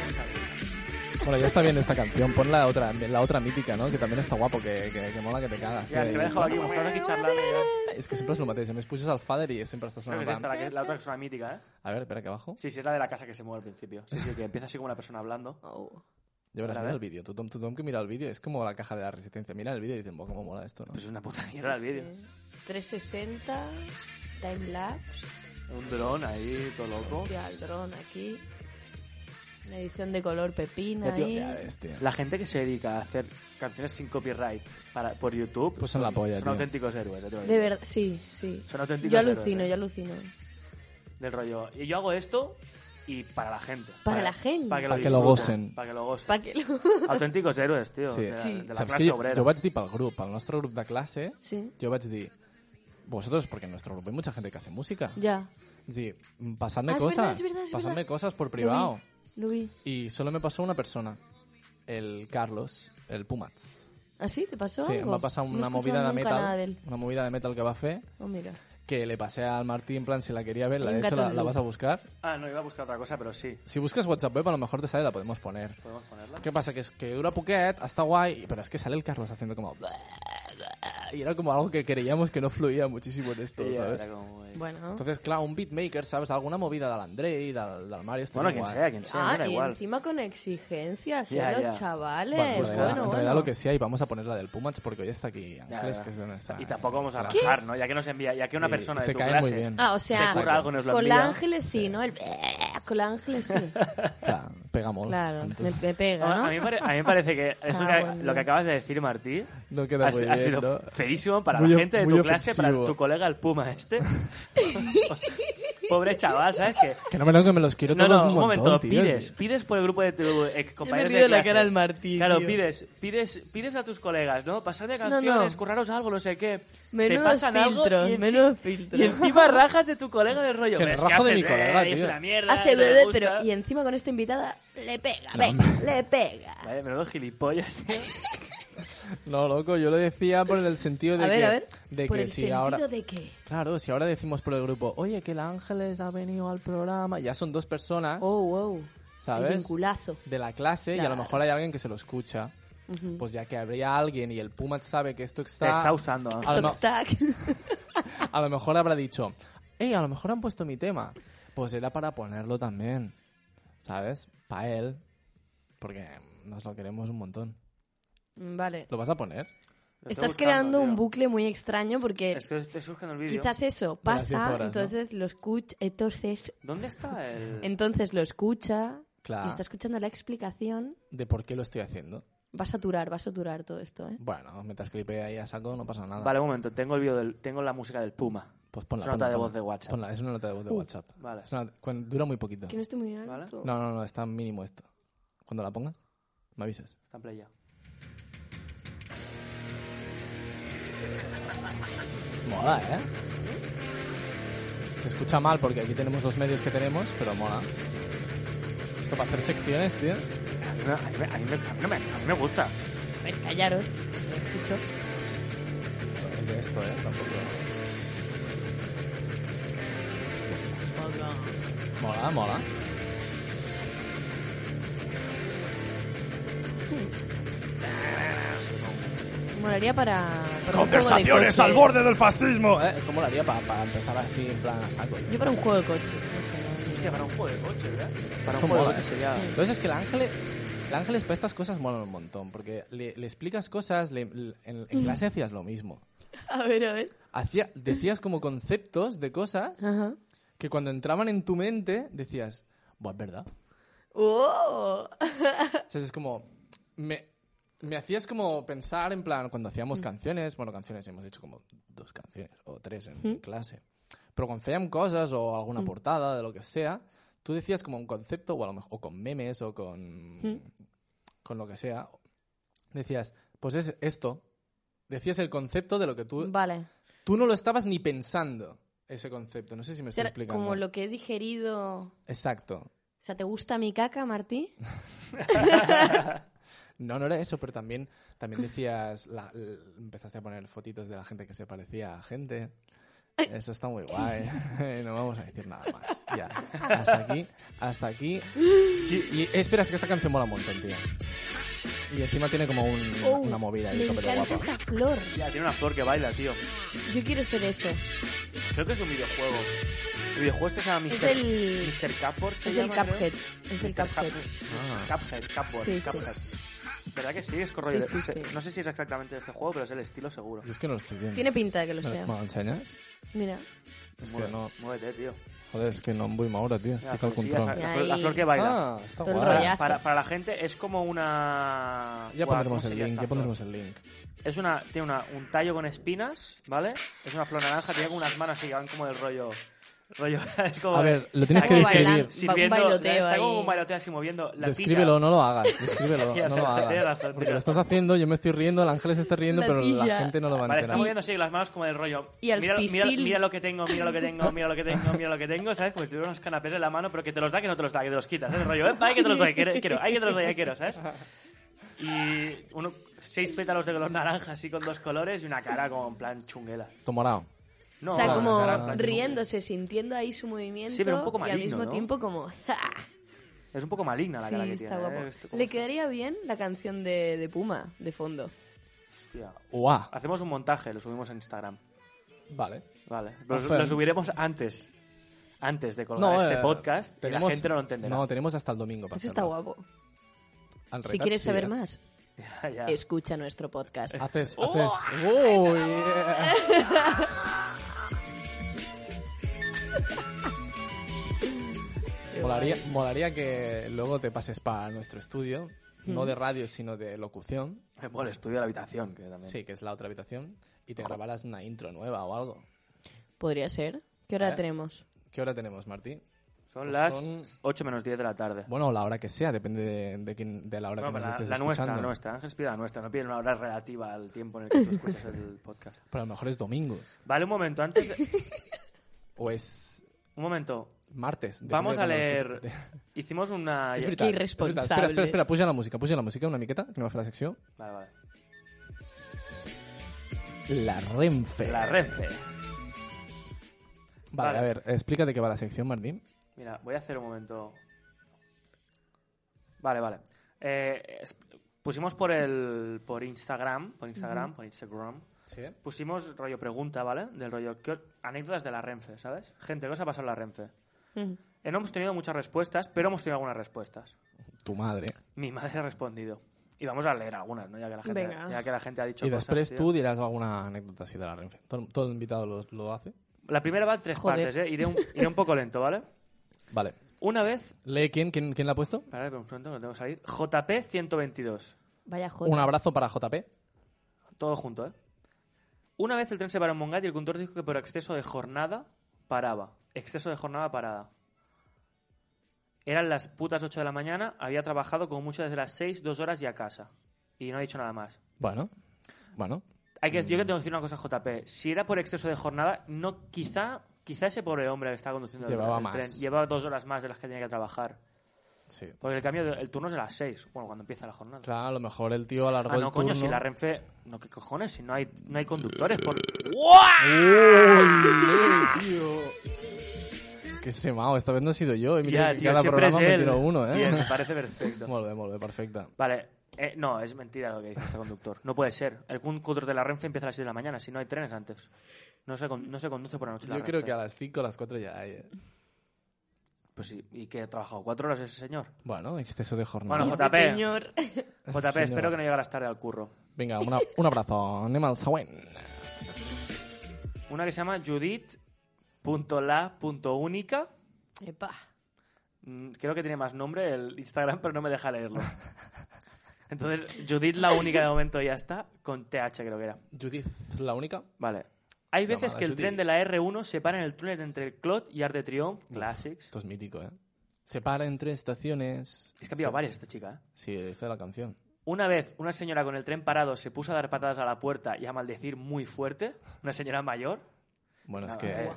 Bueno, ya está bien esta canción. Pon la otra, la otra mítica, ¿no? Que también està guapo, que, que, que mola que te cagas. Ya, es que me he dejado aquí, vosotros aquí charlando. ya. És que sempre és el mateix. A més, puges al fader i sempre estàs Creo que sonant... es esta, la, pam. que- la otra que suena mítica, ¿eh? A ver, espera, aquí abajo. Sí, sí, es la de la casa que se mueve al principio. Sí, sí, que empieza así como una persona hablando. Oh. Ya verás, A mira ver. el vídeo. Tothom, tothom que mira el vídeo es como la caja de la resistencia. Mira el vídeo y dicen, "Buah, cómo mola esto, ¿no? Pero Pues es una puta mierda el vídeo. 360, ¿eh? timelapse, Un dron ahí, todo loco. hostia, el dron aquí. Una edición de color Ya, eh. pepina tío, ahí. Ya ves, tío. La gente que se dedica a hacer canciones sin copyright para, por YouTube Pues son la polla, son tío. auténticos héroes. ya te lo De digo. verdad, sí, sí. Son auténticos Yo héroes, alucino, ¿eh? yo alucino. Del rollo. Y yo hago esto y para la gente. Para la gente. Para que lo, Pa' que lo disfruten, gocen. Para que lo gocen. Pa' que lo- [LAUGHS] Auténticos héroes, tío. Sí. De, la- de la Saps clase que jo, obrera. jo vaig dir pel grup, al nostre grup de classe, Sí. jo vaig dir, vosotros, porque en nuestro grupo hay mucha gente que hace música, Ya. es decir, mm, pasadme Ah, es cosas, verdad, es verdad, es pasadme verdad. cosas por privado. Lo vi. Y solo me pasó una persona, el Carlos, el Pumatz. ¿Ah, sí? ¿Te pasó Sí, em algo? va passar no he una escuchado movida de nunca nada de metal, él. una movida de metal que va fer, Oh, mira. que le pasé al Martín, en plan, si la quería ver, la, Hay de un hecho gato la, de la luz. vas a buscar. Ah, no, iba a buscar otra cosa, pero sí. Si buscas WhatsApp web, a lo mejor te sale, la podemos poner. ¿Podemos ponerla? ¿Qué pasa? Que es que dura poquet, está guay, pero es que sale el Carlos haciendo como... Y era como algo que creíamos que no fluía muchísimo en esto, Sí, ¿sabes? era como, eh. Bueno. Entonces, clar, un beatmaker, saps? Alguna movida de l'Andrei, del, del Mario... està Bueno, igual. quien sea, quien sea, ah, no da y igual. encima con exigencias, ¿eh? Ya, los ya. chavales. Bueno, Bueno, pues nada, bueno. en realidad lo que sea, y vamos a poner la del Pumats porque hoy está aquí Ya, Ángeles, ya. que es de nuestra... Y tampoco vamos a Claro. bajar, ¿no? Ya que nos envía, ya que una Y persona se de tu cae clase muy bien. Ah, o se sea, curra algo, nos lo con la envía. Ángeles sí, ¿no? El... Con la Ángeles [LAUGHS] sí. Claro, pega molt. Claro, Entonces, me, me pega, A, a ¿no? mí, me pare- a mí me parece [LAUGHS] que, eso Ah, que- bueno. lo que acabas de decir, Martí, No ha, queda muy ha bien, sido ¿no? feísimo para Muy la of- gente de muy tu clase, para ofensivo. tu colega el Puma este. [LAUGHS] Pobre chaval, ¿sabes qué? Que no me lo que me los quiero No, todos no, un un montón, momento, tío. pides, pides por el grupo de tu ex compañero río de de la clase. cara del Martí, Claro, tío. pides, pides, pides a tus colegas, ¿no? Pasadme No, canciones, no. curraros algo, no sé qué. Menudos Te pasan algo filtros, y, enci- menudos filtros. y encima rajas de tu colega del rollo. Que "Pero es rajo de haces, mi colega, eh, Es tío". una mierda. Hace no me bebé, gusta". pero... Y encima con esta invitada le pega, No, venga, le pega. Vale, menudo gilipollas, tío. No, loco, yo lo decía por el sentido de A ver, que... a ver. De Por que el si sentido ahora... de que... Claro, si ahora decimos por el grupo, oye, que el Ángeles ha venido al programa, ya son dos personas Oh, wow. ¿Sabes? El vinculazo. de la clase y a Claro. lo mejor hay alguien que se lo escucha. Ujú. Pues ya que habría alguien y el Puma sabe que esto Te está... está usando. Ángel. A lo Toc, mo- tac. a lo mejor habrá dicho, hey, a lo mejor han puesto mi tema. Pues era para ponerlo también, ¿sabes? Para él, porque nos lo queremos un montón. [LAUGHS] Vale. ¿Lo vas a poner? Lo estoy Estás buscando, creando un tío. bucle muy extraño porque Es que estoy buscando el vídeo. quizás eso las diez pasa, horas, ¿no? entonces lo escucha, entonces, ¿Dónde está el...? entonces lo escucha Claro. y está escuchando la explicación. ¿De por qué lo estoy haciendo? Va a saturar, va a saturar todo esto, ¿eh? Bueno, mientras clipe ahí a saco no pasa nada. Vale, un momento. Tengo el vídeo del... Tengo la música del Puma. Pues ponla. Es una nota ponla, de ponla. voz de WhatsApp. Uh, Ponla, es una nota de voz de WhatsApp. vale. Es una- cuan- dura muy poquito. Que no estoy muy Vale. alto. No, no, no, está mínimo esto. Cuando la pongas, me avisas. Está en play ya. Mola, ¿eh? Se escucha mal porque aquí tenemos los medios que tenemos, pero mola. Esto para hacer secciones, tío. A mí, me- a mí me- a mí me- a mí me- a mí me gusta. Pues callaros. lo escucho. Es de esto, ¿eh? Tampoco... Mola, mola. Molaría para... para un juego de coches. del fascismo. ¿Eh? Esto molaría para empezar así, en plan a saco. Yo para un juego de coche. no sé, Hostia, para un juego de coche, ¿verdad? Para un Esto juego de mola, coche ¿eh? sería... Entonces es que el ángel, el ángel para estas cosas mola un montón, porque le, le explicas cosas, le- le- en, en clase hacías lo mismo. no. A ver, a ver. Hacía, decías como conceptos de cosas Ajá. que cuando entraban en tu mente decías, Buah, es verdad. ¡Oh! O sea, es como, me, me hacías como pensar en plan, cuando hacíamos Mm. canciones, bueno, canciones hemos hecho como dos canciones o tres en Mm. clase, pero cuando hacíamos cosas o alguna portada de lo que sea, tú decías como un concepto, o a lo mejor o con memes o con, Mm. con lo que sea, decías, pues es esto, decías el concepto de lo que tú, Vale. tú no lo estabas ni pensando. Ese concepto, no sé si me estoy Será explicando. como lo que he digerido... O Exacto. sea, ¿te gusta mi caca, Martí? No, no era eso, pero también, también decías, la- l- empezaste a poner fotitos de la gente que se parecía a gente. Eso está muy guay. [LAUGHS] No vamos a decir nada más. Ya. Hasta aquí, hasta aquí. Y espera, es que esta canción mola un montón, tío. Y encima tiene como un- Oh, una movida ahí, Me todo encanta guapa. esa flor. Hostia, tiene una flor que baila, tío. Yo quiero [LAUGHS] ser eso. Creo que es un videojuego. El videojuego este se llama Mr. Es el- Mr. Cupboard. se Es el llama, creo. Cuphead. Es el Mr. Cuphead. Ah. Cuphead, Cupboard, Sí, sí. Cuphead. ¿Verdad que sí? Es correo. Sí, sí, se- sí. No sé si es exactamente de este juego, pero es el estilo seguro. Yo es que no lo estoy viendo. Tiene pinta de que lo ¿Me sea. me lo enseñas? Mira. Es que Mueve- no. Muévete, tío. Joder, es que no voy ahora, tío. Mira, Estoy con pues sí, la, control. la flor, la flor que baila. Ah, está Todo el guay. rollazo. Para, para la gente es como una... Ya Buah, pondremos ¿cómo el sería link, esta ya flor? pondremos el link. Es una, tiene una, un tallo con espinas, ¿vale? Es una flor naranja, tiene como unas manos así que van como del rollo. rollo [LAUGHS] es como, A ver, lo tienes que como describir. bailando. sirviendo, un bailoteo está como ahí. un bailoteo así moviendo la Descríbelo, tija. no lo hagas. Descríbelo, [LAUGHS] Ya, no lo tienes hagas. razón, Porque tienes lo estás razón. haciendo, yo me estoy riendo, el ángel se está riendo, La pero la tilla. gente no lo va a Vale, está enterar. moviendo así las manos como del rollo. Y al mira, mira, pistil- mira lo que tengo, mira lo que tengo, mira lo que tengo, mira lo que tengo, ¿sabes? Como si tuviera unos canapés en la mano, pero que te los da, que no te los da, que te los quitas, ¿sabes? El rollo, "Epa, hay que te los doy, quiero, quiero, hay que te los doy, quiero, ¿sabes? Y uno, seis pétalos de color naranja así con dos colores y una cara como en plan chunguela. Tomorao. No, o sea, una como cara en plan riéndose, sintiendo ahí su movimiento. Sí, pero un poco Y maligno, al mismo ¿no? tiempo como... [LAUGHS] "Ja". chunguela. Es un poco maligna la sí, cara que está tiene. ¿eh? guapo. Esto como- Le quedaría bien la canción de, de Puma, de fondo. Hostia. ¡Guau! Hacemos un montaje, lo subimos en Instagram. Vale. Vale. Lo, Hacer. lo subiremos antes. Antes de colgar este eh, podcast. Y tenemos- la gente no lo entenderá. No, tenemos hasta el domingo para Eso está hacerlo. guapo. Al Si recat, quieres sí, saber eh. más, [LAUGHS] Ya, ya. escucha nuestro podcast. Haces, haces... [LAUGHS] ¡Oh, yeah! Molaría, molaría que luego te pases para nuestro estudio, no de radio, sino de locución, Bueno, el estudio de la habitación, que también. sí, que es la otra habitación, y te grabaras una intro nueva o algo. Podría ser. ¿Qué hora Eh. tenemos? ¿Qué hora tenemos, Martí? Son Pues las son- 8 menos 10 de la tarde. Bueno, la hora que sea, depende de, de quién- de la hora No, que pero nos la, estés la nuestra, la escuchando. nuestra. Ángel pide la nuestra. No pide una hora relativa al tiempo en el que tú escuchas el [LAUGHS] podcast. Pero a lo mejor es domingo, Vale, un momento. Antes de- o es Un momento. martes. depende Vamos de a cuándo lo leer... escuches. Hicimos una... És veritat, és veritat. Irresponsable. Espera, espera, espera, puja la música, puja la música una miqueta, que anem a fer la secció. Vale, vale. La Renfe. La Renfe. Vale, Vale. a ver, explícate qué va la sección, Martín. Mira, voy a hacer un momento. Vale, vale. Eh, es- pusimos por el por Instagram, por Instagram, por Instagram. Sí. Pusimos rollo pregunta, ¿vale? Del rollo ¿qué o- anécdotas de la Renfe, ¿sabes? Gente, ¿qué os ha pasado en la Renfe? Ujú. Eh, no hemos tenido muchas respuestas, pero hemos tenido algunas respuestas. Tu madre. Mi madre [LAUGHS] ha respondido. Y vamos a leer algunas, ¿no? Ya que la gente, Venga. ya que la gente ha dicho I cosas, després tío. tu diràs alguna anécdota así de la Renfe. Todo, todo el invitado lo, lo hace. La primera va en tres Joder. partes, ¿eh? Iré un, iré un poco lento, ¿vale? Vale. Una vez... Lee quién, quién, quién la ha puesto. Espera, pero un momento, no tengo que salir. JP 122. Vaya joder. Un abrazo para JP. Todo junto, ¿eh? Una vez el tren se paró en Mongat y el conductor dijo que por exceso de jornada paraba. Exceso de jornada parada. Eran las putas 8 de la mañana, había trabajado como mucho desde las 6, 2 horas y a casa. Y no ha dicho nada más. Bueno. Bueno. Hay Mm. que, Yo que tengo que decir una cosa, JP. Si era por exceso de jornada, no quizá, quizá ese pobre hombre que estaba conduciendo el- Llevaba el, más. tren llevaba dos horas más de las que tenía que trabajar. Sí. Porque el cambio, de- el turno es a las 6, bueno, cuando empieza la jornada. Claro, a lo mejor el tío alargó Ah, no, el turno. coño, si la Renfe... No, ¿qué cojones? Si no hay, no hay conductores por... ¡Ole, tío! Qué semao, esta vez no he sido yo. Y mira Ya, que tío, cada siempre programa es me él. tiro uno, ¿eh? Bien, me [LAUGHS] parece perfecto. Molt bé, molt bé, perfecte. Vale. eh, no, es mentira lo que dice este conductor. No puede ser. El conductor de la Renfe empieza a las 6 de la mañana, si no hay trenes antes. No se, con- no se conduce por la noche la Yo creo Renfe. que a las 5 o las 4 ya hay. eh. Pues sí, ¿y que ha trabajado cuatro horas ese [LAUGHS] señor? Bueno, exceso de Bueno, jornada. Ese JP. señor. JP, espero que no llegaras tarde al curro. Vinga, una, un abrazo. Anem al següent. Una que se llama Judith.la.única. Epa. Mm, Creo que tiene más nombre el Instagram, pero no me deja leerlo. [LAUGHS] Entonces, Judith la única de momento ya está, con TH creo que era. Judith, la única. Vale. Hay Se veces llama que el Judy. tren de la R1 se para en el túnel entre el Clot y Art de Triomphe, Classics. Esto es mítico, ¿eh? Se para entre estaciones. Es que ha pillado varias esta chica, ¿eh? Sí, esta es la canción. Una vez una señora con el tren parado se puso a dar patadas a la puerta y a maldecir muy fuerte, una señora mayor. Bueno, es A que. ver,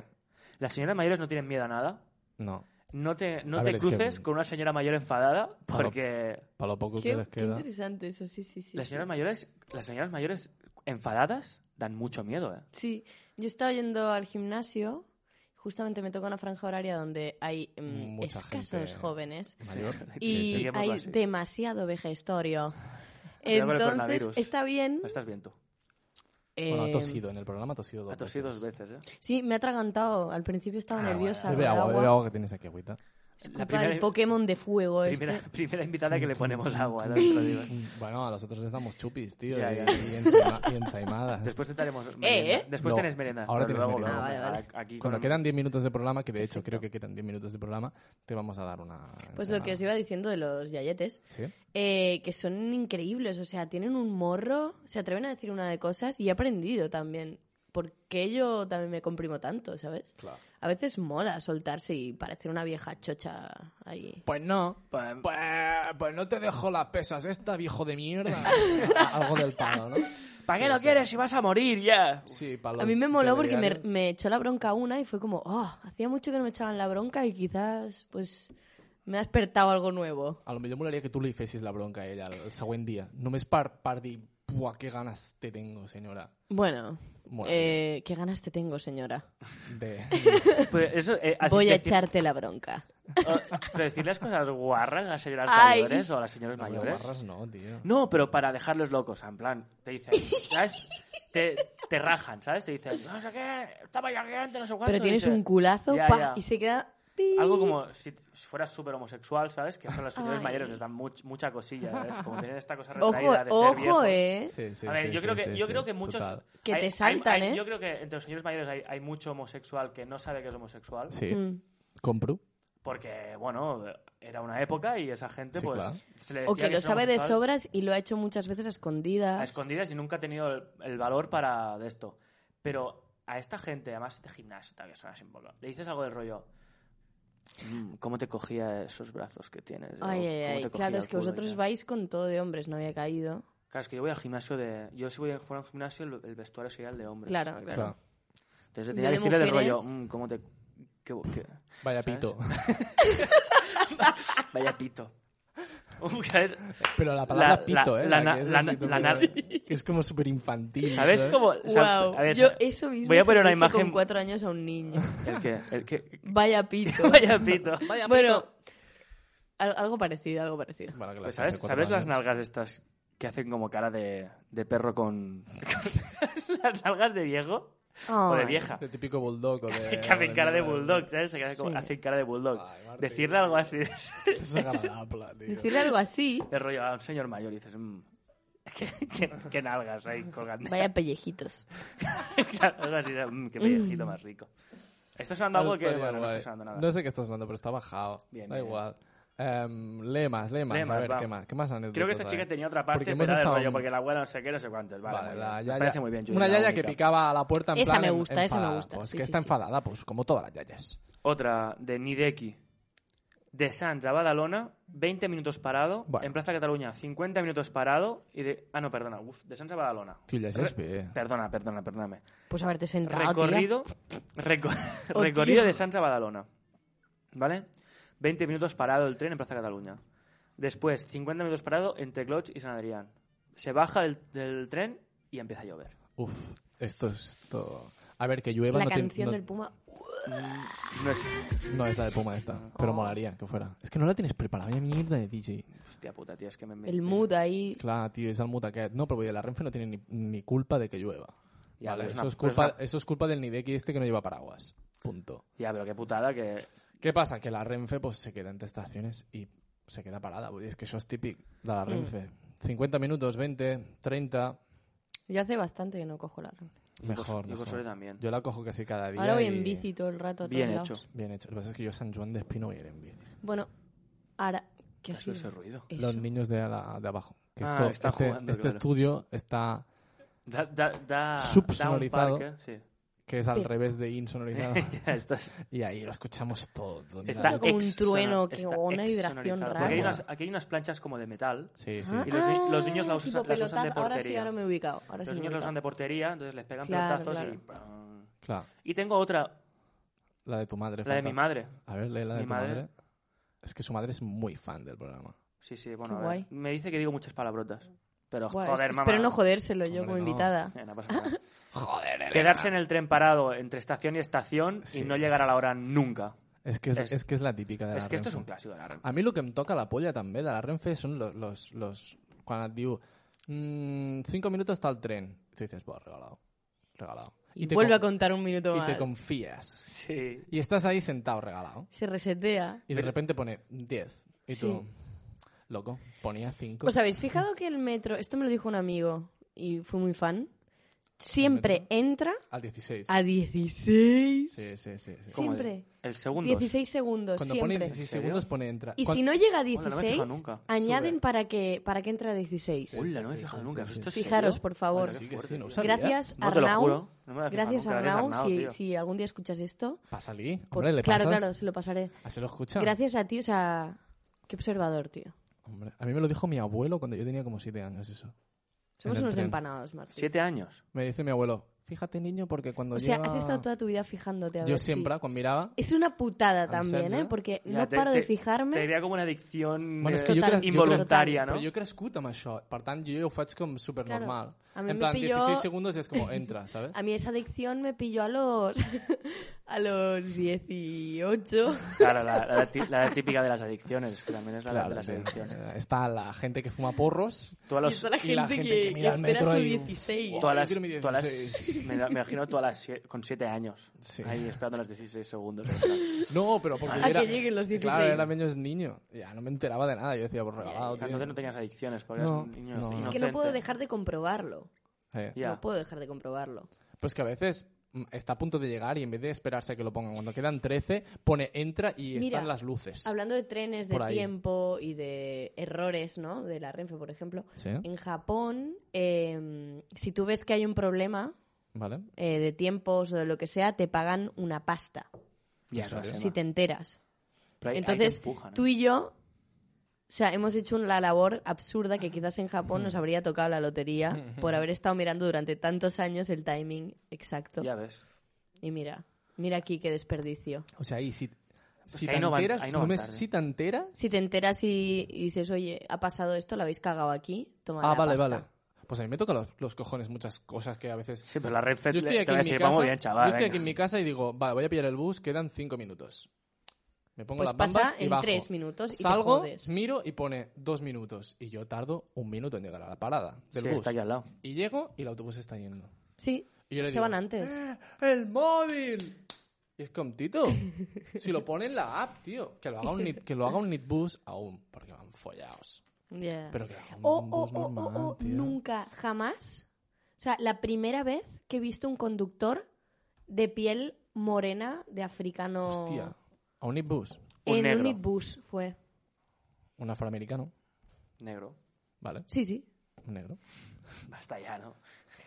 Las señoras mayores no tienen miedo a nada. No. No te, no A te ver, es que- Ah, cruces con una señora mayor enfadada porque Para lo poco que Qué, les qué queda. interesante eso, sí, sí, sí. las sí. señoras mayores, las señoras mayores enfadadas dan mucho miedo, ¿eh? Sí, yo estaba yendo al gimnasio, justamente me toca una franja horaria donde hay mm, Mucha escasos gente. jóvenes Mayor. y sí. hay Digámoslo así. demasiado vegetorio. [LAUGHS] Cuidado con el Entonces, coronavirus. está bien. Lo estás viendo. Bueno, eh, ha tosido en el programa, ha tosido dos Ha tosido dos veces. veces, ¿eh? Sí, me ha atragantado. Al principio estaba Ah, nerviosa. Bebe con agua, agua. bebe agua que tienes aquí, agüita. Es La culpa primera- del Pokémon de fuego Primera, este. primera invitada que le ponemos agua, [LAUGHS] ¿no? Te lo digo. Bueno, a nosotros les damos chupis, tío, Ya, y, ya. y ensaima- y ensaimadas. Después te daremos merienda. ¿eh? Después No, tenés merienda. ahora Pero tienes luego, merienda. luego, Ah, vale, a- Aquí Cuando con- quedan 10 minutos de programa, que de hecho creo que quedan 10 minutos de programa, te vamos a dar una... Pues lo ensaimada. que os iba diciendo de los yayetes, ¿Sí? eh, que son increíbles, o sea, tienen un morro, se atreven a decir una de cosas y he aprendido también. Porque yo también me comprimo tanto, ¿sabes? Claro. A veces mola soltarse y parecer una vieja chocha ahí. Pues no. Pues- Pues, pues no te dejo las pesas esta, viejo de [LAUGHS] mierda. Ah, Algo del palo, ¿no? ¿Para qué lo quieres si vas a morir ya? Sí, para A mí me moló porque me, me echó la bronca una y fue como, oh, hacía mucho que no me echaban la bronca y quizás, pues, me ha despertado algo nuevo. A lo millor molaria que tu li fessis la bronca a ella el següent dia. Només per, per dir, buah, que ganes te tengo, senyora. Bueno, Mola, Eh, ¿Qué ganas te [LAUGHS] tengo, señora? De... Pues eso, eh, Voy a decir- echarte la bronca. [LAUGHS] o- Pero decir las cosas guarras a las señoras Ay. mayores o a las señoras No, mayores. guarras no, tío. No, pero para dejarlos locos, en plan, te dicen, ¿sabes? Te, te rajan, ¿sabes? Te dicen, no sé qué, estaba ya aquí antes, no sé cuánto. Pero tienes y dice- un culazo Ya, pa, ya. y se queda... Algo como si si fueras súper homosexual, ¿sabes? Que son las señoras Ay. mayores, les dan much- mucha cosilla, ¿sabes? Como tienen esta cosa Ojo, retraída de ser ojo, viejos. eh. Sí, sí, a ver, sí, yo, sí, creo que, sí, yo sí, creo que muchos... total. Que te saltan, ¿eh? Yo creo que entre los señores mayores hay, hay mucho homosexual que no sabe que es homosexual. Sí, Mm. compro. Porque, bueno, era una época y esa gente, Sí, pues, claro. se le decía O que lo es sabe de homosexual sobras y lo ha hecho muchas veces a escondidas. A escondidas y nunca ha tenido el, el valor para de esto. Pero a esta gente, además de gimnasio, todavía suena sin poco, le dices algo del rollo... "Mm, ¿Cómo te cogía esos brazos que tienes? O, Ay, "¿Cómo ay, ay. te cogía Claro, el es que culo?" y vosotros tal. vais con todo de hombres, no había caído. Claro, es que yo voy al gimnasio de... Yo si voy a, fuera a un gimnasio, el, el vestuario sería el de hombres. Claro, claro. Claro. Entonces Yo tenía que de decirle del mujeres- rollo, "Mm, ¿cómo te...? qué- qué- Vaya ¿Sabes? pito. Vaya pito. Uh, ¿sabes? Pero la palabra La- pito, la- ¿eh? la que na- es la- así, la- como- la- Es como súper infantil. ¿Sabes cómo...? o sea, Guau, a ver, yo ¿sabes? eso mismo voy a se poner una lo dije imagen- con cuatro años a un niño. El que... El [LAUGHS] que... [LAUGHS] Vaya [LAUGHS] pito. Vaya [LAUGHS] pito. bueno, al- algo parecido, algo parecido. Bueno, que la Pues, gente ¿Sabes, de cuatro ¿sabes las años- nalgas estas que hacen como cara de, de perro con... [LAUGHS] las nalgas de viejo o de Ay. vieja. De típico bulldog o de... [LAUGHS] Que hacen cara de bulldog, Eso ¿sabes? Se quedan como- Sí. Hacen cara de bulldog. Ay, Martín. Decirle algo así [LAUGHS] es es agradable, tío. Decirle algo así, el rollo a un señor mayor y dices... "Mm, [LAUGHS] ¿Qué, qué- qué nalgas ahí colgando? [LAUGHS] vaya pellejitos. algo así de... "Mm, qué [LAUGHS] pellejito más rico. Está sonando algo que... Estaría Bueno, no guay. está sonando nada. No sé qué está sonando, pero está bajado. Bien, da bien. igual. Em, lee más, lee más. Lee a más, ver, va. ¿qué más? ¿Qué más anécdotas Creo que esta chica hay? tenía otra ¿eh? parte, Porque pero hemos era del estado- rollo, porque la abuela no sé qué, no sé cuántos. Vale, Vale, la muy bien. Me yaya- parece muy bien, Judith, Una la yaya única. que picaba a la puerta en Esa plan me en- gusta, esa me enfadada. gusta, Pues sí, que sí, está sí. enfadada, pues como todas las yayas. Otra de Nideki. De Sants a Badalona, 20 minutos parado. Bueno. En Plaza Cataluña, 50 minutos parado. Y de... Ah, no, perdona. Uf, de Sants a Badalona. Tio, llegeix bé. Perdona, perdona, perdóname. Pues haberte sentado, recorrido [LAUGHS] reco- Oh, recorrido tía. de Sants a Badalona. ¿Vale? 20 minutos parado el tren en Plaza Cataluña. Después, 50 minutos parado entre Cloch y San Adrián. Se baja del, del tren y empieza a llover. Uf, esto es... Esto... A ver, que tía. llueva La no, tiene- canción no- del Puma. Mm, No es... no es la de Puma esta, [LAUGHS] pero Oh. molaría que fuera. Es que no la tienes preparada, vaya mierda de DJ. Hostia puta, tío, es que me... me- El me- mood ahí. Clar, tio, és el mut aquest. No, però vull dir, la Renfe no tiene ni, ni culpa de que llueva. Ya, vale, eso, pero es una- es pero es culpa, una- eso es culpa del Nideki este que no lleva paraguas. Punto. Ya, pero qué putada que... ¿Qué pasa? Que la Renfe pues, se queda entre estaciones y se queda parada. Vull dir, és que això és típic de Mm. la Renfe. 50 minutos, 20, 30... Yo hace bastante que no cojo la Renfe. Y Mejor, Cos- y Cosore mejor. también. Yo la cojo casi cada día. Ahora voy y- en bici todo el rato. a todos Bien lados. hecho. Bien hecho. Lo que pasa es que yo a San Juan de Espino voy a ir en bici. Bueno, ahora. ¿Qué ha ha sido sido? ese ruido? Eso. Los niños de, la- de abajo. Que Ah, esto- están este jugando, este claro. estudio está... Da, da, da, Subsonorizado. da un parque, que es al Bien. revés de [LAUGHS] insonorizado. sí. [LAUGHS] Ya estás- y ahí lo escuchamos todo. mira. está como un exsona- trueno que- está o una vibración exsonorizado. rara. Porque hay unas, aquí hay unas planchas como de metal. Sí, sí. Ah, Y los ni- los niños la ah, usan- tipo las usan de pelotazo. Ahora sí, portería. ahora me he ubicado. Ahora Los sí me he niños los ubicado. usan de portería, entonces les pegan Pues Claro, pelotazos y... ¡pam! Y tengo otra, La de tu madre. la de falta. mi madre. A ver, lee la de Mi tu madre. madre. Es que su madre es muy fan del programa. Sí, sí, bueno, Qué a ver. guay. me dice que digo muchas palabrotas. Pero Buah, joder, es- mamá. Espero no jodérselo yo Hombre, como no. invitada. Eh, no pasa nada. Joder, Quedarse en el tren parado entre estación y estación Sí, y no llegar a la hora nunca. Es que es, es- es que es la típica de la Es que esto es Renfe. un clásico de la Renfe. A mí lo que me toca la polla també de la Renfe són los, los, los quan et diu "Mm, cinco minutos hasta el tren. Y tú dices, bueno, regalado. Regalado. Y, te vuelve con- a contar un minuto y más. te confías. Sí. Y estás ahí sentado regalado. Se resetea. Y de repente pone 10. Y tú, loco, ponía 5. ¿Os habéis fijado que el metro, esto me lo dijo un amigo y fui muy fan, siempre entra al 16. a 16? Sí, sí, sí. sí. ¿Cómo? Siempre. El segundo. 16 segundos, Cuando siempre. pone 16 ¿En serio? segundos, pone entra. Y Cuan- si no llega Hola, a no me he 16, fijado nunca. añaden Sube. para que, para que entre a 16. Sí. Hola, no me he sí, fijado sí, nunca. sí, ¿Esto sí. es Fijaros, serio? por favor. Bueno, Sí, que fuerte, sí, no tío. sabías. Gracias, No te lo Arnau. juro. No me lo decís Gracias, nunca, eres Arnau, Arnau, si, tío. si algún día escuchas esto. Pásale, por- hombre, le claro, pasas. claro, se lo pasaré. Así lo escucha. Gracias a ti, o sea, qué observador, tío. Hombre, a mí me lo dijo mi abuelo cuando yo tenía como 7 años eso. Somos En el unos tren. empanados, Martín. Siete años. Me dice mi abuelo, Fíjate, niño, porque cuando O sea, llega- has estado toda tu vida fijándote a Yo ver si- siempre, cuando miraba... Es una putada también, Sergio. ¿eh? Porque Ya, no te- paro de te- fijarme. Te diria com una adicció Bueno, és eh, que jo crec- jo involuntària, Però no? jo he crescut amb això, per tant, jo ho faig com supernormal. Claro, a mi en me plan, pilló- 16 segundos és com entra, ¿sabes? A mí esa adicción me pilló a los [LAUGHS] a los 18. Claro, la, la tí- la típica de las adicciones, que también es la Claro, de las tío. adicciones. Está la gente que fuma porros. Tú a Y los... está la y gente, la gente que mira al espera metro su y- 16. Wow. tú a las- Yo quiero mi tú a las- 16. me, da- me imagino tú a las, sie- con 7 años. Sí. Ahí esperando los 16 segundos. [LAUGHS] en plan. No, pero Ah, porque A yo era... que lleguen los 16. Claro, era menos niño. Ya no me enteraba de nada. Yo decía, por regalado, tío. Eh, Entonces no tenías adicciones, porque No, eras un niño no, no. Es inocente. que no puedo dejar de comprobarlo. Sí. Ya. No puedo dejar de comprobarlo. Pues que a veces mm, está a punto de llegar y en vez de esperarse a que lo pongan, cuando quedan 13, pone entra y Mira, están las luces. Hablando de trenes, de Por ahí. tiempo y de errores, ¿no? De la Renfe, por ejemplo. Sí, En Japón, eh, si tú ves que hay un problema ¿vale? eh, de tiempos o de lo que sea, te pagan una pasta. Ya, Sí, claro, sí. sí, Si te enteras. Pero ahí- ahí te Entonces, empujan, ¿eh? tú y yo, o sea, hemos hecho una labor absurda que quizás en Japón nos habría tocado la lotería por haber estado mirando durante tantos años el timing exacto. Ya ves. Y mira, mira aquí qué desperdicio. O sea, ahí si, si Pues que te ahí no van- enteras, ahí no tú van me- tarde. si te enteras, Si te enteras y, y dices, oye, ha pasado esto, lo habéis cagado aquí, toma Ah, la vale, pasta". vale. Pues a mí me tocan los, los cojones muchas cosas que a veces... Sí, pero la red te, Yo estoy te aquí va a en mi decir, casa... vamos bien, chaval. yo estoy aquí venga". en mi casa y digo, vale, voy a pillar el bus, quedan cinco minutos. Me pongo Pues las bambas pasa y en bajo. tres minutos y te Salgo, jodes. miro y pone dos minutos. Y yo tardo un minuto en llegar a la parada del Sí, bus. está aquí al lado. Y llego y el autobús está yendo. Sí, Y yo le se digo, van antes. "Eh, ¡El móvil! Y es como, Tito, si lo pone en la app, tío, que lo haga un, nit- que lo haga un nitbus aún, porque van follados. Ya. Pero que lo haga un, O, o, bus o, normal, o, o, tío. oh, nunca, jamás. O sea, la primera vez que he visto un conductor de piel morena de africano Hostia, a un nitbus, Un en negro. un bus fue. un afroamericano, Negro. [LAUGHS] ¿vale? Sí, sí. Un negro. Basta ya, ¿no? [LAUGHS]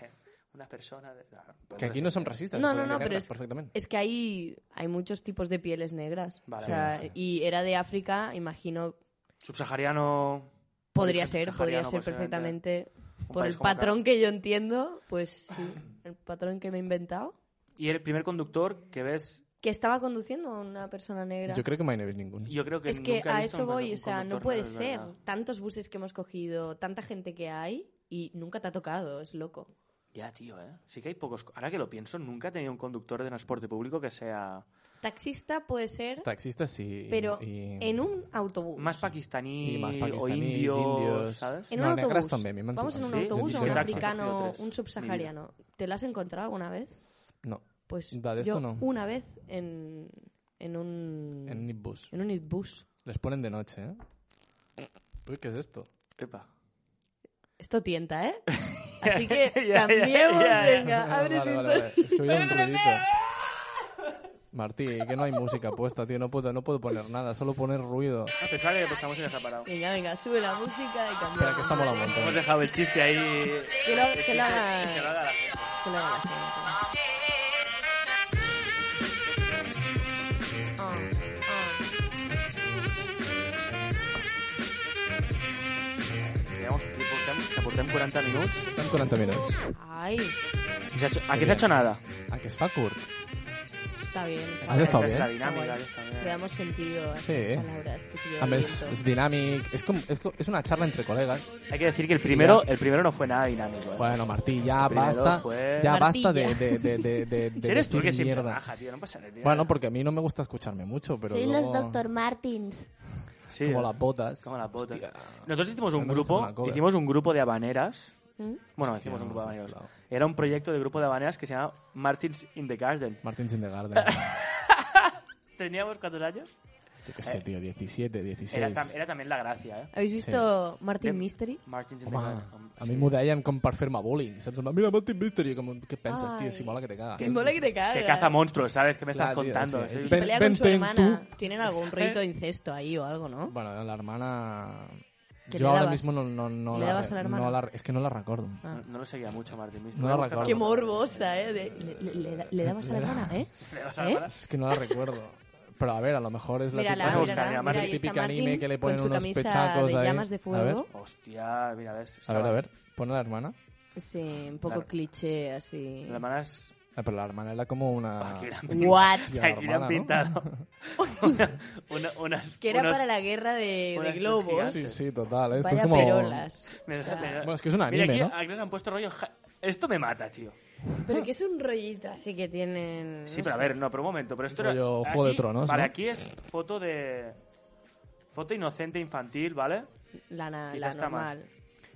Una persona... De... pues no, Que aquí no son racistas, No, se no, pueden ver no, pero negras es- perfectamente. Es que hay, hay muchos tipos de pieles negras. Vale. o sea, Sí, sí. Y era de África, imagino. Subsahariano... Podría Origen ser, podría subsahariano, ser posiblemente. perfectamente. Un Por país el como acá. patrón que yo entiendo, pues [CLEARS THROAT] sí. El patrón que me he inventado. Y el primer conductor que ves... Que estaba conduciendo a una persona negra. Yo creo que Maine ninguno. Yo creo que es que nunca he a visto eso un- voy, un o sea, no conductor puede negro, es ser. verdad. Tantos buses que hemos cogido, tanta gente que hay y nunca te ha tocado, es loco. Ya, tío, ¿eh? Sí que hay pocos... Ahora que lo pienso, nunca he tenido un conductor de transporte público que sea... Taxista puede ser, Taxistas sí. pero y- en un autobús. Más pakistaní, Y más o pakistaníes, indios, indios. ¿sabes? en No, un negras autobús. también, me han Vamos en tocado. un ¿Sí? autobús Yo a un ni siquiera he africano, conocido tres. un subsahariano. ¿Te lo has encontrado alguna vez? No, Pues Da, de yo esto no. una vez en, en un en un nitbus. en un bus. Les ponen de noche, ¿eh? Uy, ¿qué es esto? Epa. [LAUGHS] Esto tienta, ¿eh? Así que Ya, ya, cambiemos, ya, ya. venga, abre vale, su- vale, vale. Es que oigo un ruidito. Martí, que no hay música puesta, tío. No puedo, no puedo poner nada, solo poner ruido. Ah, pensaba que pues, estamos en esa parada. Venga, venga, sube la música y Espera, que cambiamos. está mola un montón. Hemos dejado el chiste ahí... Que lo- el que lo chiste- haga- que lo haga la gente. Que lo haga la gente. Ah, ah. Eh, Digamos, que portem, que portem 40 minuts. Estan 40 minuts. Ai, Aquí s'ha hecho nada. Ah, que es fa curt. está bien. está Has bien. estado Esta es la bien. dinámica. Está esta, Le mira. damos sentido a Sí, eh. estas palabras que se A llevan més, és viento. dinàmic, és, com, és, com, és una charla entre colegas. Hay que decir que el primero, el primero no fue nada dinámico. ¿eh? Bueno, Martí, ya Primero basta, fue- ya Martí, basta de, ya. de, de, de, de, de Si eres tú el que decir siempre mierda. baja, tío, no pasa nada. tío. Bueno, porque a mí no me gusta escucharme mucho, pero Soy luego, los Dr. Martins. Sí, como eh. las botas. Como las botas. Hostia. Nosotros hicimos un Tenemos que hacer una grupo, cover. hicimos un grupo de habaneras. ¿Mm? Bueno, Hostia, hicimos un grupo de no, habaneros. claro. Era un proyecto de grupo de habaneras que se llamaba Martins in the Garden. Martín in the [LAUGHS] Garden. ¿Teníamos cuántos años? Yo qué sé, tío, 17, 16. Era, tam- era también la gracia, ¿eh? Habéis visto Martin Bien. Mystery? Martins in the Home, Garden. a mi m'ho deien com per fer-me bullying, saps? En plan, Mira, Martin Mystery, com, què penses, Ai. tio? Si mola que te cagas. te cagas. Que caza monstruos, ¿sabes? ¿Qué me estás Claro, tío, contando? sí. Soy- Se Ven- pelea con su vente en hermana. Tienen algún rito de incesto ahí o algo, ¿no? Bueno, la hermana... Yo Que le ahora dabas. mismo no, no, no ¿Le dabas a la hermana? no la- Es que no la recuerdo. No, no lo seguía mucho, Martín. ¿viste? No la Voy a buscar- recuerdo. Qué morbosa, ¿eh? le, le- le- le dabas a la hermana, ¿eh? ¿Le vas a dar ¿Eh? para? Es que no la recuerdo. Pero a ver, a lo mejor es la Mírala, típica- mírala, es el mira, ahí está típico Martín anime que le con ponen su unos camisa pechacos de ahí. llamas de A ver, fuego. Hostia, a mira, ves. ver, estaba- a ver, pon a la hermana. Sí, un poco Claro. cliché así. La hermana es... Ah, pero la hermana era como una... Aquí la han pintado. What? [LAUGHS] Tía, la Aquí la han Ah. hermana, ¿no? [LAUGHS] pintado. Una- una- unas, Que era unos- para la guerra de, de unas globos. Sí, sí, total. Esto Vaya es como... perolas. [LAUGHS] Me O da- sea, me da- Bueno, es que es un Mira, anime, aquí, ¿no? aquí les han puesto rollo... ja- Esto me mata, tío. Ah. Pero que es un rollito así que tienen. Sí, no pero a sé. ver, no, pero un momento. Pero esto era- Rollo Juego de aquí- Tronos, Vale, ¿no? aquí es foto de... Foto inocente infantil, ¿vale? La, na- Quizá la está más. normal.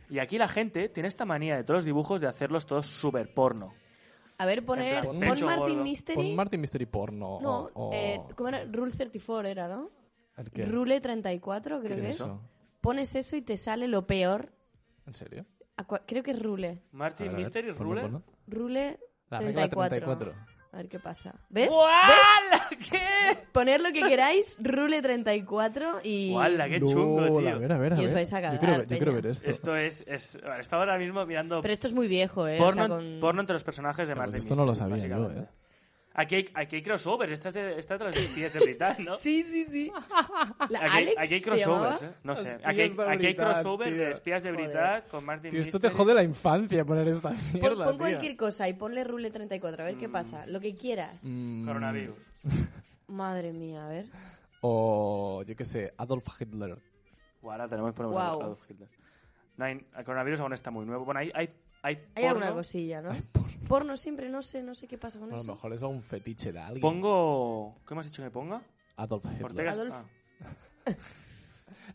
Y aquí la gente tiene esta manía de todos los dibujos de hacerlos todos super porno. A ver, En poner. plan, Pon pecho Martin gordo. Mystery. Pon Martin Mystery porno. No, o, o- eh, ¿cómo era? Rule 34 era, ¿no? ¿el qué? Rule 34, creo ¿Qué es que es. eso? Pones eso y te sale lo peor. ¿En serio? A cua- Creo que es Rule. A ver, Martin a ver, Mystery ponlo, Ruler. ponlo. Rule La regla 34. 34. A ver qué pasa. ¿Ves? ¡Guala! ¿Qué? Poner lo que queráis, Rule 34 y... ¡Guala! ¡Qué No, chungo, A ver, tío! a ver, a Y os ver. vais a Yo cagar, quiero ver, yo quiero peña. ver esto. Esto es... es... bueno, Estaba ahora mismo mirando Pero esto es muy viejo, ¿eh? porno, O sea, con- porno entre los personajes de Pues Martin esto no lo Mystery, sabía yo, básicamente. Aquí hay, aquí hay crossovers. Esta es de, esta es de los espías de Britain, ¿no? Sí, sí, sí. [LAUGHS] La Aquí, hay- Alex aquí hay se crossovers, llamaba. ¿eh? No sé. Espías Aquí hay, de aquí hay Britain, crossover tío. de espías de Joder. Britain con Martin Tío, esto Mystery. te jode la infancia poner esta Pon, mierda, pon tío. cualquier cosa y ponle Rule 34, a ver qué pasa. Lo que quieras. Mm, Coronavirus. Madre mía, a ver. O, yo qué sé, Adolf Hitler. Guara, tenemos que poner Guau. a Adolf Hitler. No hay- el coronavirus aún está muy nuevo. Bueno, hay, hay, hay, Hay porno. alguna cosilla, ¿no? porno. siempre, no sé, no sé qué pasa con Bueno, a lo eso. mejor es un fetiche de alguien. Pongo... ¿Qué me has dicho que ponga? Adolf Hitler. Ortega. Adolf.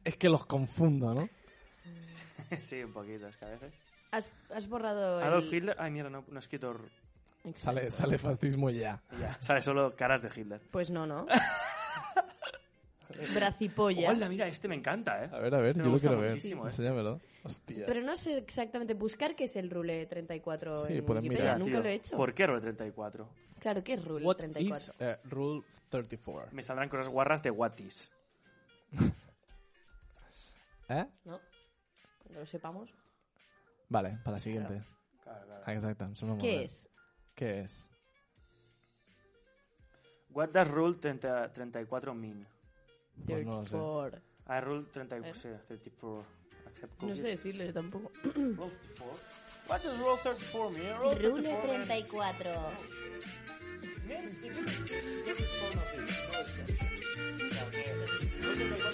Es que los confundo, ¿no? ah. [LAUGHS] sí, un poquito, es que a veces. Has, has borrado el... Adolf Hitler... Ay, mierda, no, no he escrito... r- Exacto. Sale, sale fascismo ya. Ya. Sale solo caras de Hitler. Pues [LAUGHS] no, ¿no? Bracipolla. Hola, mira, este me encanta, ¿eh? A ver, a ver, Este me yo lo gusta quiero ver. muchísimo, ¿eh? Enséñamelo. Hostia. Pero no sé exactamente buscar qué es el Rule 34 Sí, en pueden Wikipedia. mirar. Ya, Nunca tío. lo he hecho. ¿Por qué Rule 34? Claro, ¿qué es Rule What 34? is eh, Rule 34? Me saldrán cosas guarras de What Is. ¿Eh? ¿No? Cuando lo sepamos. Vale, para la siguiente. Claro, claro. Ah, Exacto. se me mola. ¿Qué es? ¿Qué es? What does Rule 30 34 mean? Pues no lo sé. 34. Ah, Rule 34. sí, 34. Accept No cookies. sé decirlo yo tampoco. Rule 34. What does Rule 34 mean? Rule 34 means- 34. means if it's- if it's one of these. No, it's not. Yeah, okay. Rule 34